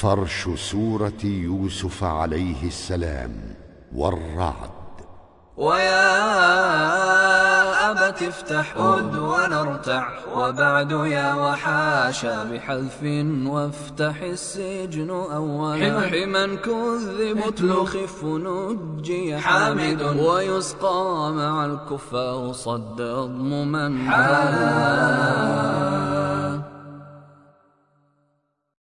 فرش سورة يوسف عليه السلام والرعد ويا أبت افتح أد ونرتع وبعد يا وحاشا بحذف وافتح السجن أولا حما كذب اتل خف نجي حامد ويسقى مع الكفار صد أضم من حلا